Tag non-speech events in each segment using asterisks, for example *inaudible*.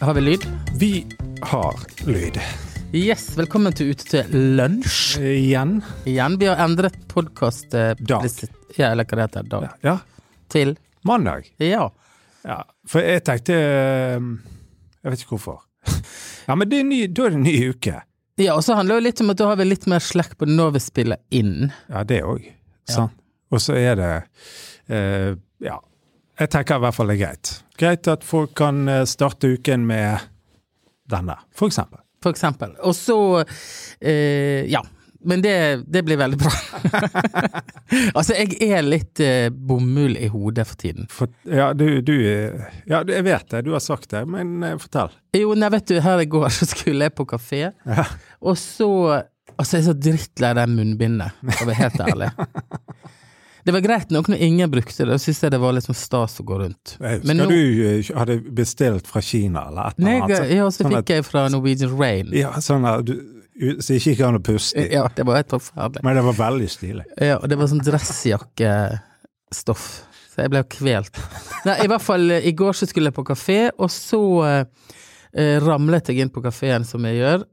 Har vi lyd? Vi har lyd. Yes, velkommen til Ute til lunsj Igjen. igjen. Vi har endret podkast Dag. Ja, eller hva det heter. Dag. Ja. Til Mandag. Ja. Ja. For jeg tenkte eh, Jeg vet ikke hvorfor. *laughs* Ja, men det er ny, da er det en ny uke. ja og så handler det jo litt om at da har vi litt mer slekk på når vi spiller inn. Ja, det òg. Sant. Og så er det eh, Ja. Jeg tenker i hvert fall det er greit. Greit at folk kan eh, starte uken med denne, for eksempel. For eksempel. Og så eh, Ja. Men det, det blir veldig bra. *laughs* altså, jeg er litt eh, bomull i hodet for tiden. For, ja, du, du eh, Ja, jeg vet det, du har sagt det, men eh, fortell. Jo, nei, vet du, her i går *laughs* så skulle jeg på kafé, og så Altså, jeg er så drittlei det munnbindet, for å være helt ærlig. Det var greit nok når ingen brukte det, da syns jeg det var litt sånn stas å gå rundt. Eh, Skal Men nå- du eh, ha det bestilt fra Kina eller et Nei, eller annet? jeg- ja, så sånn at- fikk jeg fra Norwegian Rain. Ja, sånn at du u- Så ikke gikk an å puste i. Ja, det var helt forferdelig. Men det var veldig stilig. Ja, og det var sånn dressjakkestoff. Så jeg ble jo kvelt. Nei, i hvert fall eh, i går så skulle jeg på kafé, og så eh, ramlet jeg inn på kafeen som jeg gjør,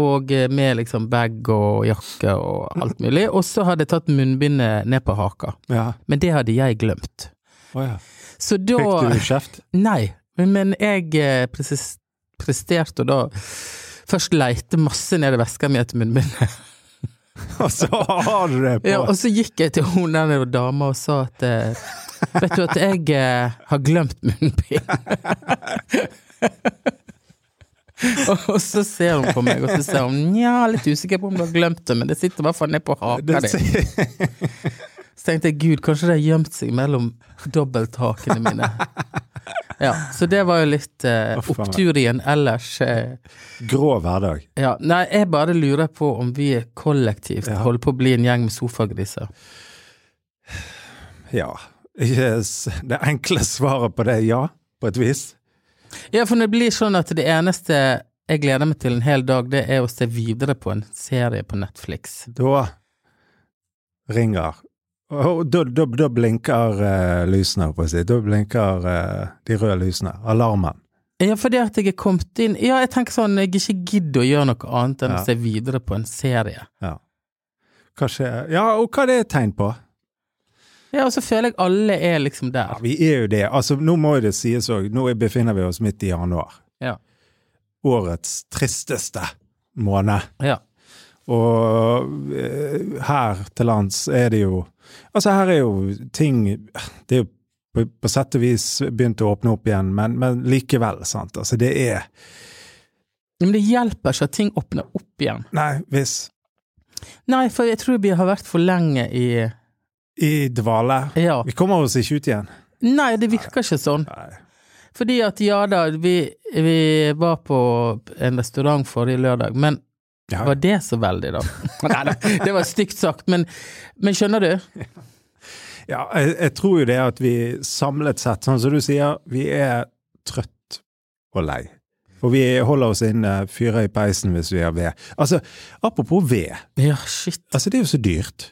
og eh, med liksom bag og jakke og alt mulig. Og så hadde jeg tatt munnbindet ned på haka, Ja. men det hadde jeg glemt. Å ja. Så Fikk da du kjeft? Nei, men jeg eh, presis- presterte å da først leite masse ned i veska mi etter munnbindet. *laughs* Og så har du det på! Ja, og så gikk jeg til hun der nede, dama og sa at *laughs* eh, Vet du at jeg eh, har glemt munnbind? *laughs* og, og så ser hun på meg, og så sier hun nja, litt usikker på om du har glemt det, men det sitter i hvert fall ned på haka det, di. Så tenkte jeg gud, kanskje det har gjemt seg mellom dobbelthakene *laughs* mine. Ja, så det var jo litt eh, Å, faen meg. opptur igjen ellers. Eh, *laughs* grå hverdag. ja, nei, jeg bare lurer på om vi kollektivt Ja. holder på å bli en gjeng med sofagriser. Ja. Yes. Det enkle svaret på det er ja, på et vis. Ja, for det blir sånn at det eneste jeg gleder meg til en hel dag, det er å se videre på en serie på Netflix. Da ringer og da, da, da blinker eh, lysene, holdt jeg på å si. Da blinker eh, de røde lysene. Alarmen. Ja, fordi at jeg er kommet inn Ja, jeg tenker sånn, jeg ikke gidder å gjøre noe annet enn Ja. å se videre på en serie. Ja. Hva skjer? Ja, og hva det er tegn på? Ja, og så føler jeg alle er liksom Ja, der. vi er jo det. Altså, nå må jo det sies òg, nå befinner vi oss midt i januar. Ja. Årets tristeste måned. Ja. Og eh, her til lands er det jo Altså, her er jo ting Det er jo på, på sett og vis begynt å åpne opp igjen, men, men likevel, sant. Altså, det er Men det hjelper ikke at ting åpner opp igjen. Nei, hvis Nei, for jeg tror vi har vært for lenge i I dvale. Ja. Vi kommer oss ikke ut igjen. Nei, det virker ikke sånn. Nei. Fordi at ja da, vi, vi var på en restaurant forrige lørdag, men Ja. Var det så veldig, da? *laughs* Nei da, det var stygt sagt, men, men skjønner du? Ja, jeg, jeg tror jo det at vi samlet sett, sånn som du sier, vi er trøtt og lei. Og vi holder oss inne, fyrer i peisen hvis vi har ved. Altså, apropos ved. Ja, shit. Altså, det er jo så dyrt.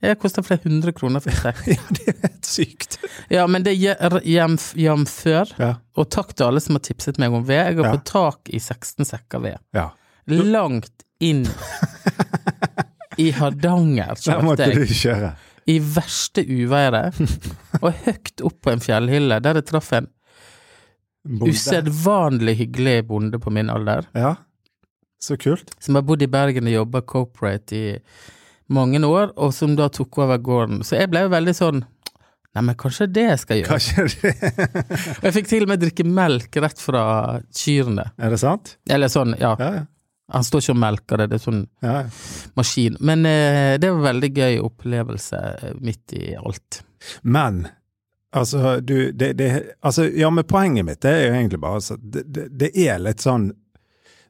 Det koster flere hundre kroner for trekk. *laughs* Ja, det er helt sykt. Ja, men det er jemf- jamfør. Ja. Og takk til alle som har tipset meg om ved. Jeg har Ja. fått tak i 16 sekker ved. ja. Langt inn i *laughs* Hardanger, Der kjøpte måtte jeg. du kjøre. I verste uværet. Og høyt opp på en fjellhylle, der jeg traff en Bonde. usedvanlig hyggelig bonde på min alder. Ja. Så kult. som har bodd i Bergen og jobba corporate i mange år, og som da tok over gården. Så jeg ble jo veldig sånn Nei, men kanskje det jeg skal gjøre. Kanskje *laughs* det Og jeg fikk til og med drikke melk rett fra kyrne. Er det sant? Eller sånn, ja. Ja, ja. Han står ikke og melker det, det er sånn ja. maskin. Men eh, det var en veldig gøy opplevelse eh, midt i alt. Men altså, du det, det, altså, Ja, men poenget mitt det er jo egentlig bare altså, det, det, det er litt sånn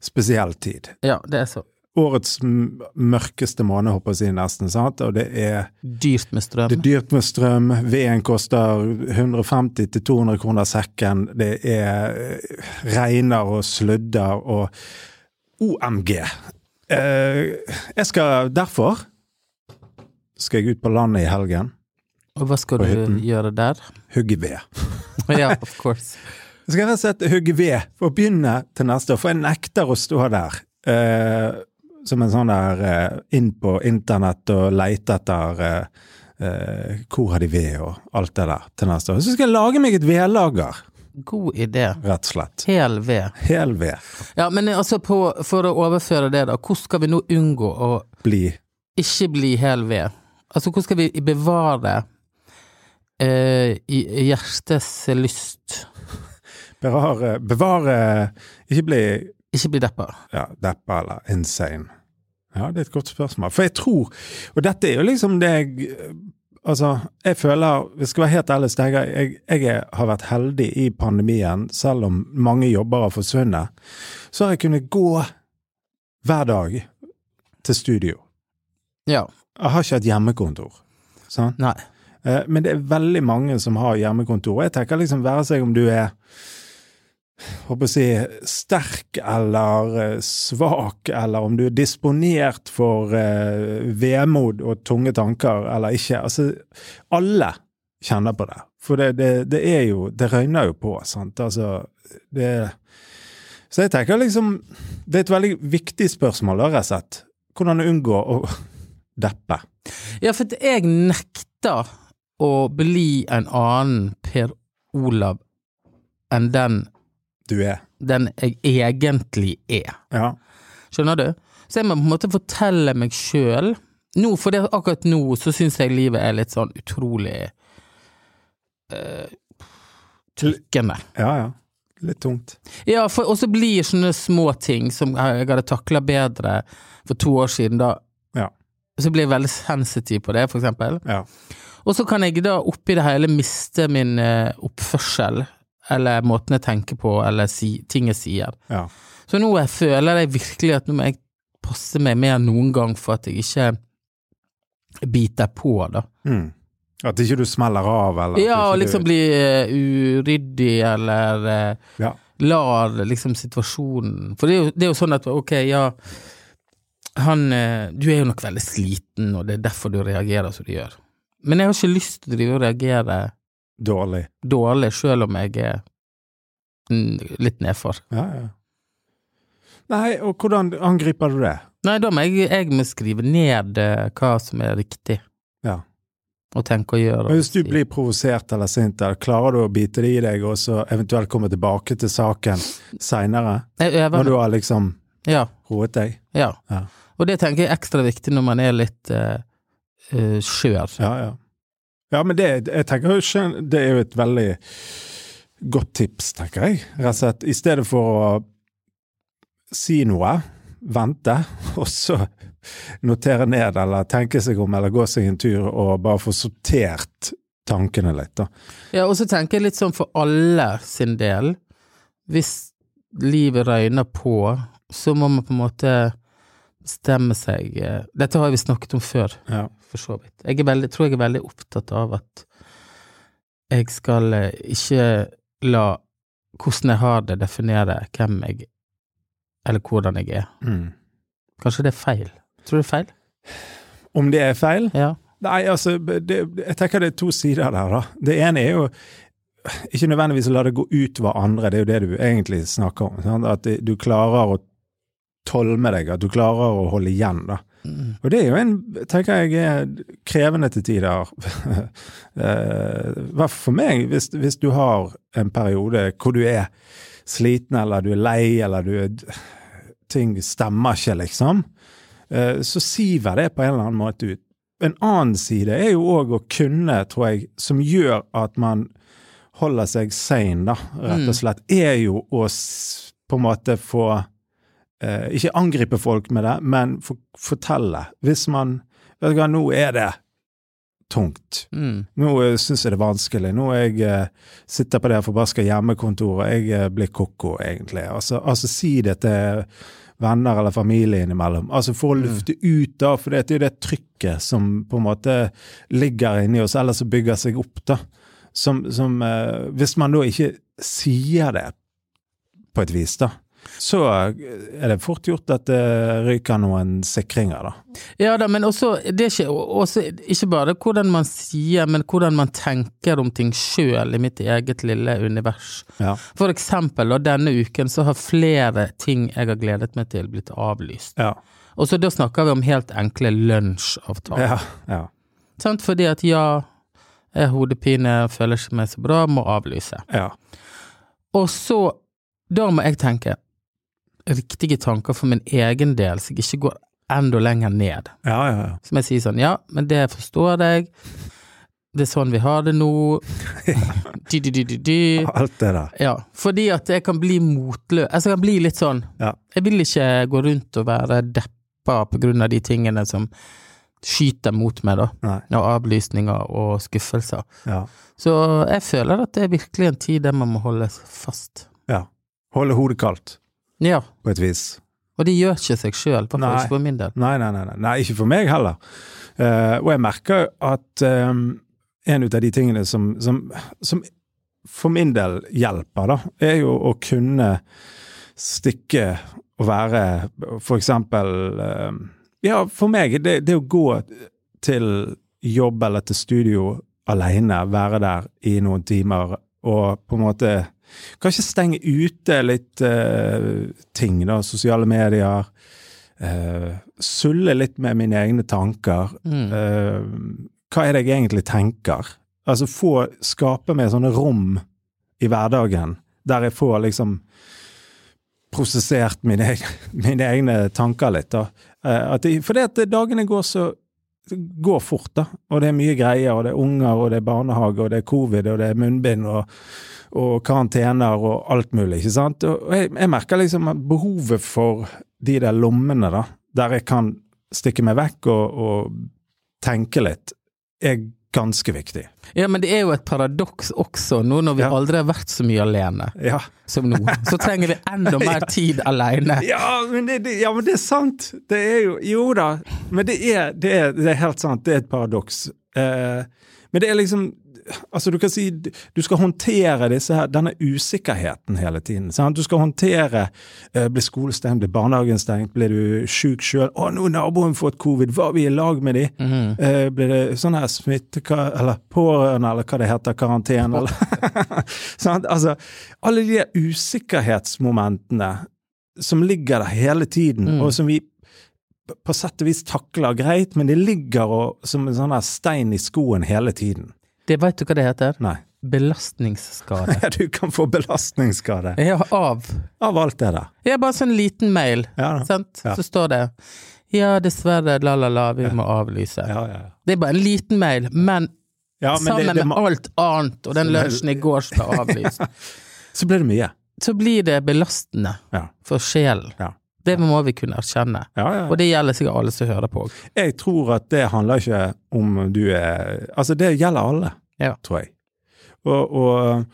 spesiell tid. Ja, det er så årets m- mørkeste måned, håper jeg å si, nesten, sant? og det er, dyrt med strøm. det er dyrt med strøm, veden koster 150-200 kroner sekken, det er eh, regner og sludder og OMG. Eh, jeg skal derfor skal jeg ut på landet i helgen, Og hva skal På du hytten. gjøre der? *laughs* hugge ved. ja, of course. Jeg skal rett og slett hugge ved for å begynne til neste år, for jeg nekter å stå der eh, som en sånn der eh, inn på internett og leite etter eh, eh, hvor har de ved og alt det der til neste år. Så skal jeg lage meg et vedlager, God idé. rett og slett. Hel ved. Hel ved. Ja, men altså, på, for å overføre det, da. Hvordan skal vi nå unngå å Bli. ikke bli hel ved? Altså, hvordan skal vi bevare eh, i- hjertets lyst? Bevare, bevare Ikke bli Ikke bli deppa. ja, deppa eller insane? Ja, det er et godt spørsmål. For jeg tror Og dette er jo liksom det jeg eh, Altså, jeg føler Vi skal være helt ærlige, Steiger. Jeg, jeg er- har vært heldig i pandemien, selv om mange jobber har forsvunnet. Så har jeg kunnet gå hver dag til studio. Ja. Jeg har ikke et hjemmekontor. Sant? Nei. Eh, Men det er veldig mange som har hjemmekontor. Og jeg tenker liksom være seg om du er håper å si, sterk eller eh, svak, eller om du er disponert for eh, vemod og tunge tanker eller ikke. Altså, alle kjenner på det. For det, det, det er jo Det røyner jo på, sant. Altså, det Så jeg tenker liksom Det er et veldig viktig spørsmål, da, rett og slett. Hvordan unngå å *laughs* deppe. Ja, for at jeg nekter å bli en annen Per Olav enn den, Du er den jeg egentlig er. Ja. Skjønner du? Så jeg må på en måte fortelle meg sjøl nå, for det, akkurat nå så syns jeg livet er litt sånn utrolig eh, trykkende. Ja, ja. Litt tungt. Ja, for- og så blir sånne små ting som jeg hadde takla bedre for to år siden, da Ja. så blir jeg veldig sensitiv på det, for eksempel. Ja. Og så kan jeg da oppi det hele miste min eh, oppførsel, eller måten jeg tenker på, eller si, ting jeg sier. ja. Så nå jeg føler jeg virkelig at nå må jeg passe meg mer enn noen gang for at jeg ikke biter på, da. Mm. At ikke du smeller av, eller at Ja, ikke og du- liksom bli eh, uryddig, eller eh, Ja. lar liksom situasjonen For det er, jo, det er jo sånn at ok, ja han, eh, Du er jo nok veldig sliten, og det er derfor du reagerer som du gjør. Men jeg har ikke lyst til å drive og reagere Dårlig. dårlig, sjøl om jeg er mm, litt nedfor. Ja, ja. Nei, og hvordan angriper du det? Nei, da må jeg, jeg må skrive ned eh, hva som er riktig Ja. å tenke og gjøre. Men hvis du Si. blir provosert eller sint, eller klarer du å bite det i deg, og så eventuelt komme tilbake til saken seinere, Jeg når øver du meg. har liksom Ja, roet deg? ja. Ja. Og det tenker jeg er ekstra viktig når man er litt eh, eh, skjør. Ja, ja. Ja, men det, jeg tenker jo skjøn- det er jo et veldig godt tips, tenker jeg. Rett og slett, i stedet for å si noe, vente, *laughs* og så notere ned, eller tenke seg om, eller gå seg en tur, og bare få sortert tankene litt, da. Ja, og så tenker jeg litt sånn for alle sin del. Hvis livet røyner på, så må man på en måte bestemme seg eh, Dette har vi snakket om før. Ja. for så vidt. Jeg er veldig, tror jeg er veldig opptatt av at jeg skal eh, ikke la hvordan jeg har det, definere hvem jeg Eller hvordan jeg er. Mm. Kanskje det er feil? Tror du det er feil? Om det er feil? Ja. Nei, altså, det, jeg tenker det er to sider der, da. Det ene er jo ikke nødvendigvis å la det gå ut over andre, det er jo det du egentlig snakker om. Sant? At det- du klarer å tolme deg, at du klarer å holde igjen, da. Mm. Og det er jo en, tenker jeg, er krevende til tider. *laughs* Eh, I hvert fall for meg, hvis, hvis du har en periode hvor du er sliten, eller du er lei, eller du er Ting stemmer ikke, liksom. Eh, så siver det på en eller annen måte ut. En annen side er jo òg å kunne, tror jeg, som gjør at man holder seg sane, da, rett og slett, er jo å s- på en måte få eh, Ikke angripe folk med det, men få- fortelle. Hvis man Vet du hva, nå er det tungt. Mm. Nå syns jeg det er vanskelig. Nå er jeg eh, sitter på det forbaska hjemmekontoret, jeg eh, blir koko, egentlig. Altså, altså si det til venner eller familie innimellom. Altså for å lufte ut, da, for det er jo det trykket som på en måte ligger inni oss, eller som bygger seg opp, da. Som, som eh, Hvis man da ikke sier det på et vis, da, så eh, er det fort gjort at det ryker noen sikringer, da. Ja da, men også, det er ikke, også ikke bare hvordan man sier, men hvordan man tenker om ting sjøl i mitt eget lille univers. Ja. For eksempel, og denne uken så har flere ting jeg har gledet meg til blitt avlyst. Ja. Og så da snakker vi om helt enkle lunsjavtaler. ja, ja. Sant? Fordi at ja, jeg har hodepine, føler ikke meg så bra, må avlyse. ja. Og så, da må jeg tenke riktige tanker for min egen del, så jeg ikke går enda lenger ned. Ja, ja, ja. Som jeg sier sånn, ja, men det forstår jeg. Det er sånn vi har det *laughs* nå. Dy, dy, dy, dy, dy. Alt det der. Ja, fordi at jeg kan bli motløs. Altså, jeg kan bli litt sånn Ja. Jeg vil ikke gå rundt og være deppa på grunn av de tingene som skyter mot meg, da. Nei. Og avlysninger og skuffelser. Ja. Så jeg føler at det er virkelig en tid der man må holde fast. ja. Holde hodet kaldt, Ja, på et vis. og det gjør ikke seg sjøl, i hvert fall Nei. ikke for min del. Nei, nei, nei, nei. nei ikke for meg heller. Eh, og jeg merker at eh, en ut av de tingene som, som, som for min del hjelper, da, er jo å kunne stikke og være for eksempel eh, Ja, for meg, det, det å gå til jobb eller til studio alene, være der i noen timer og på en måte Kanskje stenge ute litt eh, ting, da. Sosiale medier. eh, sulle litt med mine egne tanker. Mm. Eh, hva er det jeg egentlig tenker? Altså få skape meg sånne rom i hverdagen der jeg får liksom prosessert mine, egne- *laughs* mine egne tanker litt. Da. Eh, at jeg, fordi at dagene går så det går fort, da. Og det er mye greier, og det er unger, og det er barnehage, og det er covid, og det er munnbind, og, og karantener, og alt mulig, ikke sant. Og og jeg, jeg merker liksom at behovet for de der lommene, da, der jeg kan stikke meg vekk og, og tenke litt, er ganske viktig. Ja, men det er jo et paradoks også, nå når vi Ja. aldri har vært så mye alene Ja, som nå. Så trenger vi enda mer tid alene. *laughs* ja, men, det, det, ja men det er sant! Det er jo Jo da. Men det er, det er, det er helt sant, det er et paradoks. Eh, men det er liksom Altså, du kan si du skal håndtere disse her, denne usikkerheten hele tiden. Sant? Du skal håndtere eh, Blir skolen stengt? Blir barnehagen stengt? Blir du sjuk sjøl? Å, nå har naboen fått covid! Var vi i lag med de? Eh, blir det sånn her smitte... Eller pårørende, eller hva det heter. Karantene, eller *laughs* sant? Altså, alle de der usikkerhetsmomentene som ligger der hele tiden, og som vi på sett og vis takler greit, men det ligger og, som en sånn her stein i skoen hele tiden. Det veit du hva det heter? Nei. Belastningsskade. Du kan få belastningsskade *laughs* Ja, av. av alt det der. Ja, bare sånn liten mail, Ja da. sant? Ja. Så står det ja, dessverre, la la la, vi må avlyse. Ja, ja, ja. Det er bare en liten mail, men, ja men sammen det, det, med alt annet, og den lunsjen i går som ble *laughs* avlyst, så blir det mye. så blir det belastende Ja. for sjelen. Ja. Det må vi kunne erkjenne. Ja, ja, Og det gjelder sikkert alle som hører på. ja. Jeg tror at det handler ikke om du er Altså, det gjelder alle, Ja. tror jeg. Og, og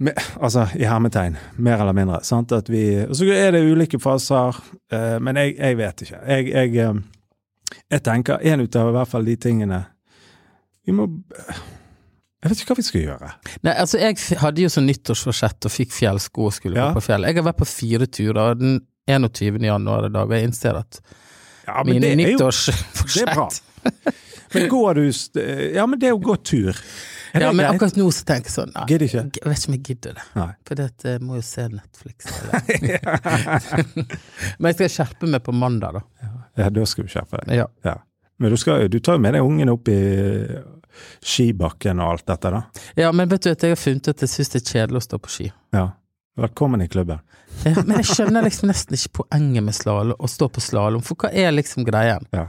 me- altså, i hermetegn, mer eller mindre. Sant? At vi, og så er det ulike faser, eh, men jeg, jeg vet ikke. Jeg, jeg, eh, jeg tenker en ut av i hvert fall de tingene Vi må Jeg vet ikke hva vi skal gjøre. Nei, altså jeg f- hadde jo sånn nyttårsforsett og fikk fjellsko og skulle Ja. gå på fjell. Jeg har vært på fire turer, og den 21. januar i dag, og jeg innser at Ja, men mine det er jo det er bra. nyttårsforsett Men går du st- Ja, men det å gå tur, er det *laughs* Ja, men greit? akkurat nå så tenker jeg sånn nei, Gidder ikke. Jeg vet ikke om jeg gidder det. Nei. For det jeg må jo se Netflix. Eller. *laughs* *laughs* men jeg skal skjerpe meg på mandag, da. Ja, da skal du skjerpe deg. Ja. Ja. Men du, skal, du tar jo med deg ungen opp i skibakken og alt dette, da. ja, men vet du at jeg har funnet ut at jeg syns det er kjedelig å stå på ski. Ja. Velkommen i klubben. Ja, men jeg skjønner liksom nesten ikke poenget med slalåm, å stå på slalåm, for hva er liksom greien? Ja.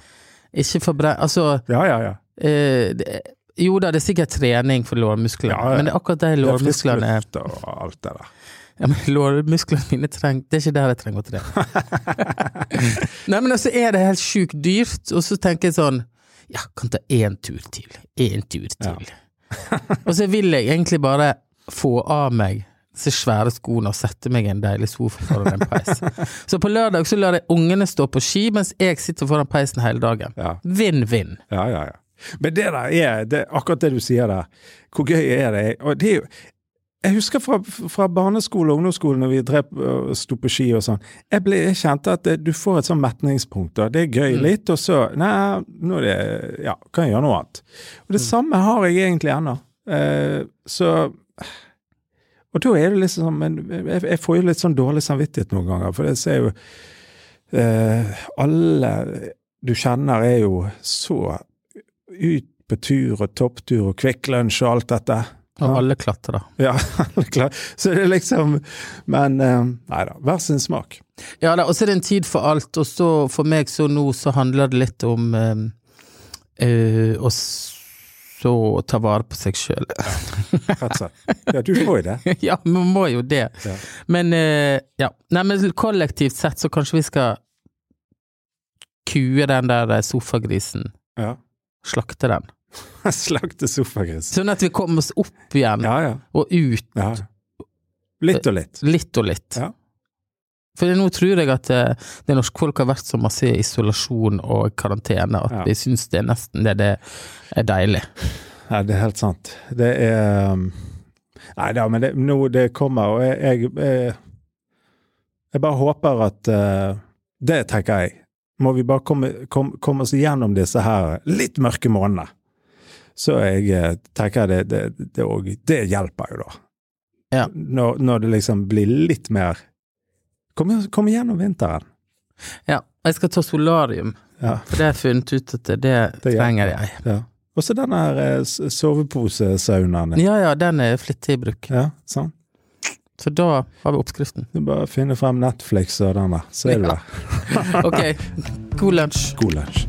Ikke forbre... Altså, Ja, ja, ja. eh, det, jo da, det er sikkert trening for lårmusklene, Ja, ja. men det er akkurat de Det er frisk lårmusklene luft og alt det der. ja, men Lårmusklene mine trenger Det er ikke der jeg trenger å trene. *laughs* Nei, men altså er det helt sjukt dyrt, og så tenker jeg sånn Ja, kan ta én tur til. Én tur til. og så vil jeg egentlig bare få av meg disse svære skoene og sette meg i en deilig sofa foran en *laughs* peis. så på lørdag så lar jeg ungene stå på ski, mens jeg sitter foran peisen hele dagen. Ja. Vinn-vinn. Ja, ja, ja. Men det der er det, akkurat det du sier der. Hvor gøy er det? Og det er jo Jeg husker fra, fra barneskole og ungdomsskole når vi drev og sto på ski og sånn. Jeg, ble, jeg kjente at det, du får et sånn metningspunkt. Da. Det er gøy Mm. litt, og så Nei, nå er det Ja, kan jeg gjøre noe annet? Og det samme har jeg egentlig ennå. Eh, så Og da er det liksom sånn Men jeg, jeg får jo litt sånn dårlig samvittighet noen ganger, for jeg ser jo eh, Alle du kjenner, er jo så ut på tur og topptur og Kvikk Lunsj og alt dette. *laughs* Og Ja. alle klatrer. Ja, klar. Så det er liksom Men eh, nei da, hver sin smak. Ja da, og så er det en tid for alt, og så for meg så nå så handler det litt om eh, eh, å så ta vare på seg sjøl. Rett og slett. Ja, du får jo det. *laughs* ja, man må jo det. Ja. Men eh, ja. Nei, men kollektivt sett så kanskje vi skal kue den der eh, sofagrisen. Ja. *laughs* Slakte den. Slakte sofagris. Sånn at vi kommer oss opp igjen, Ja, ja. og ut ja. Litt og litt. litt og litt. Ja. For nå tror jeg at eh, det norske folk har vært så masse i isolasjon og karantene at Ja. vi syns det er nesten det, det er deilig. Ja, det er helt sant. Det er um, Nei da, men det, nå det kommer, og jeg Jeg, jeg, jeg bare håper at eh, Det tenker jeg. Må vi bare komme, kom, komme oss gjennom disse her litt mørke månedene. Så jeg eh, tenker det, det, det, og det hjelper jo, da. Ja. Når, når det liksom blir litt mer Kom, kom gjennom vinteren. Ja. Jeg skal ta solarium, Ja. for det har jeg funnet ut at det, det Det gjør trenger jeg. ja. Og så den her eh, s- soveposesaunaen. Ja ja, den er flittig i bruk. Ja, sant? Så da har vi *laughs* oppskriften. Det er bare å finne frem Netflix og den der, så er du Ja. der. Ok, god lunsj. God lunsj.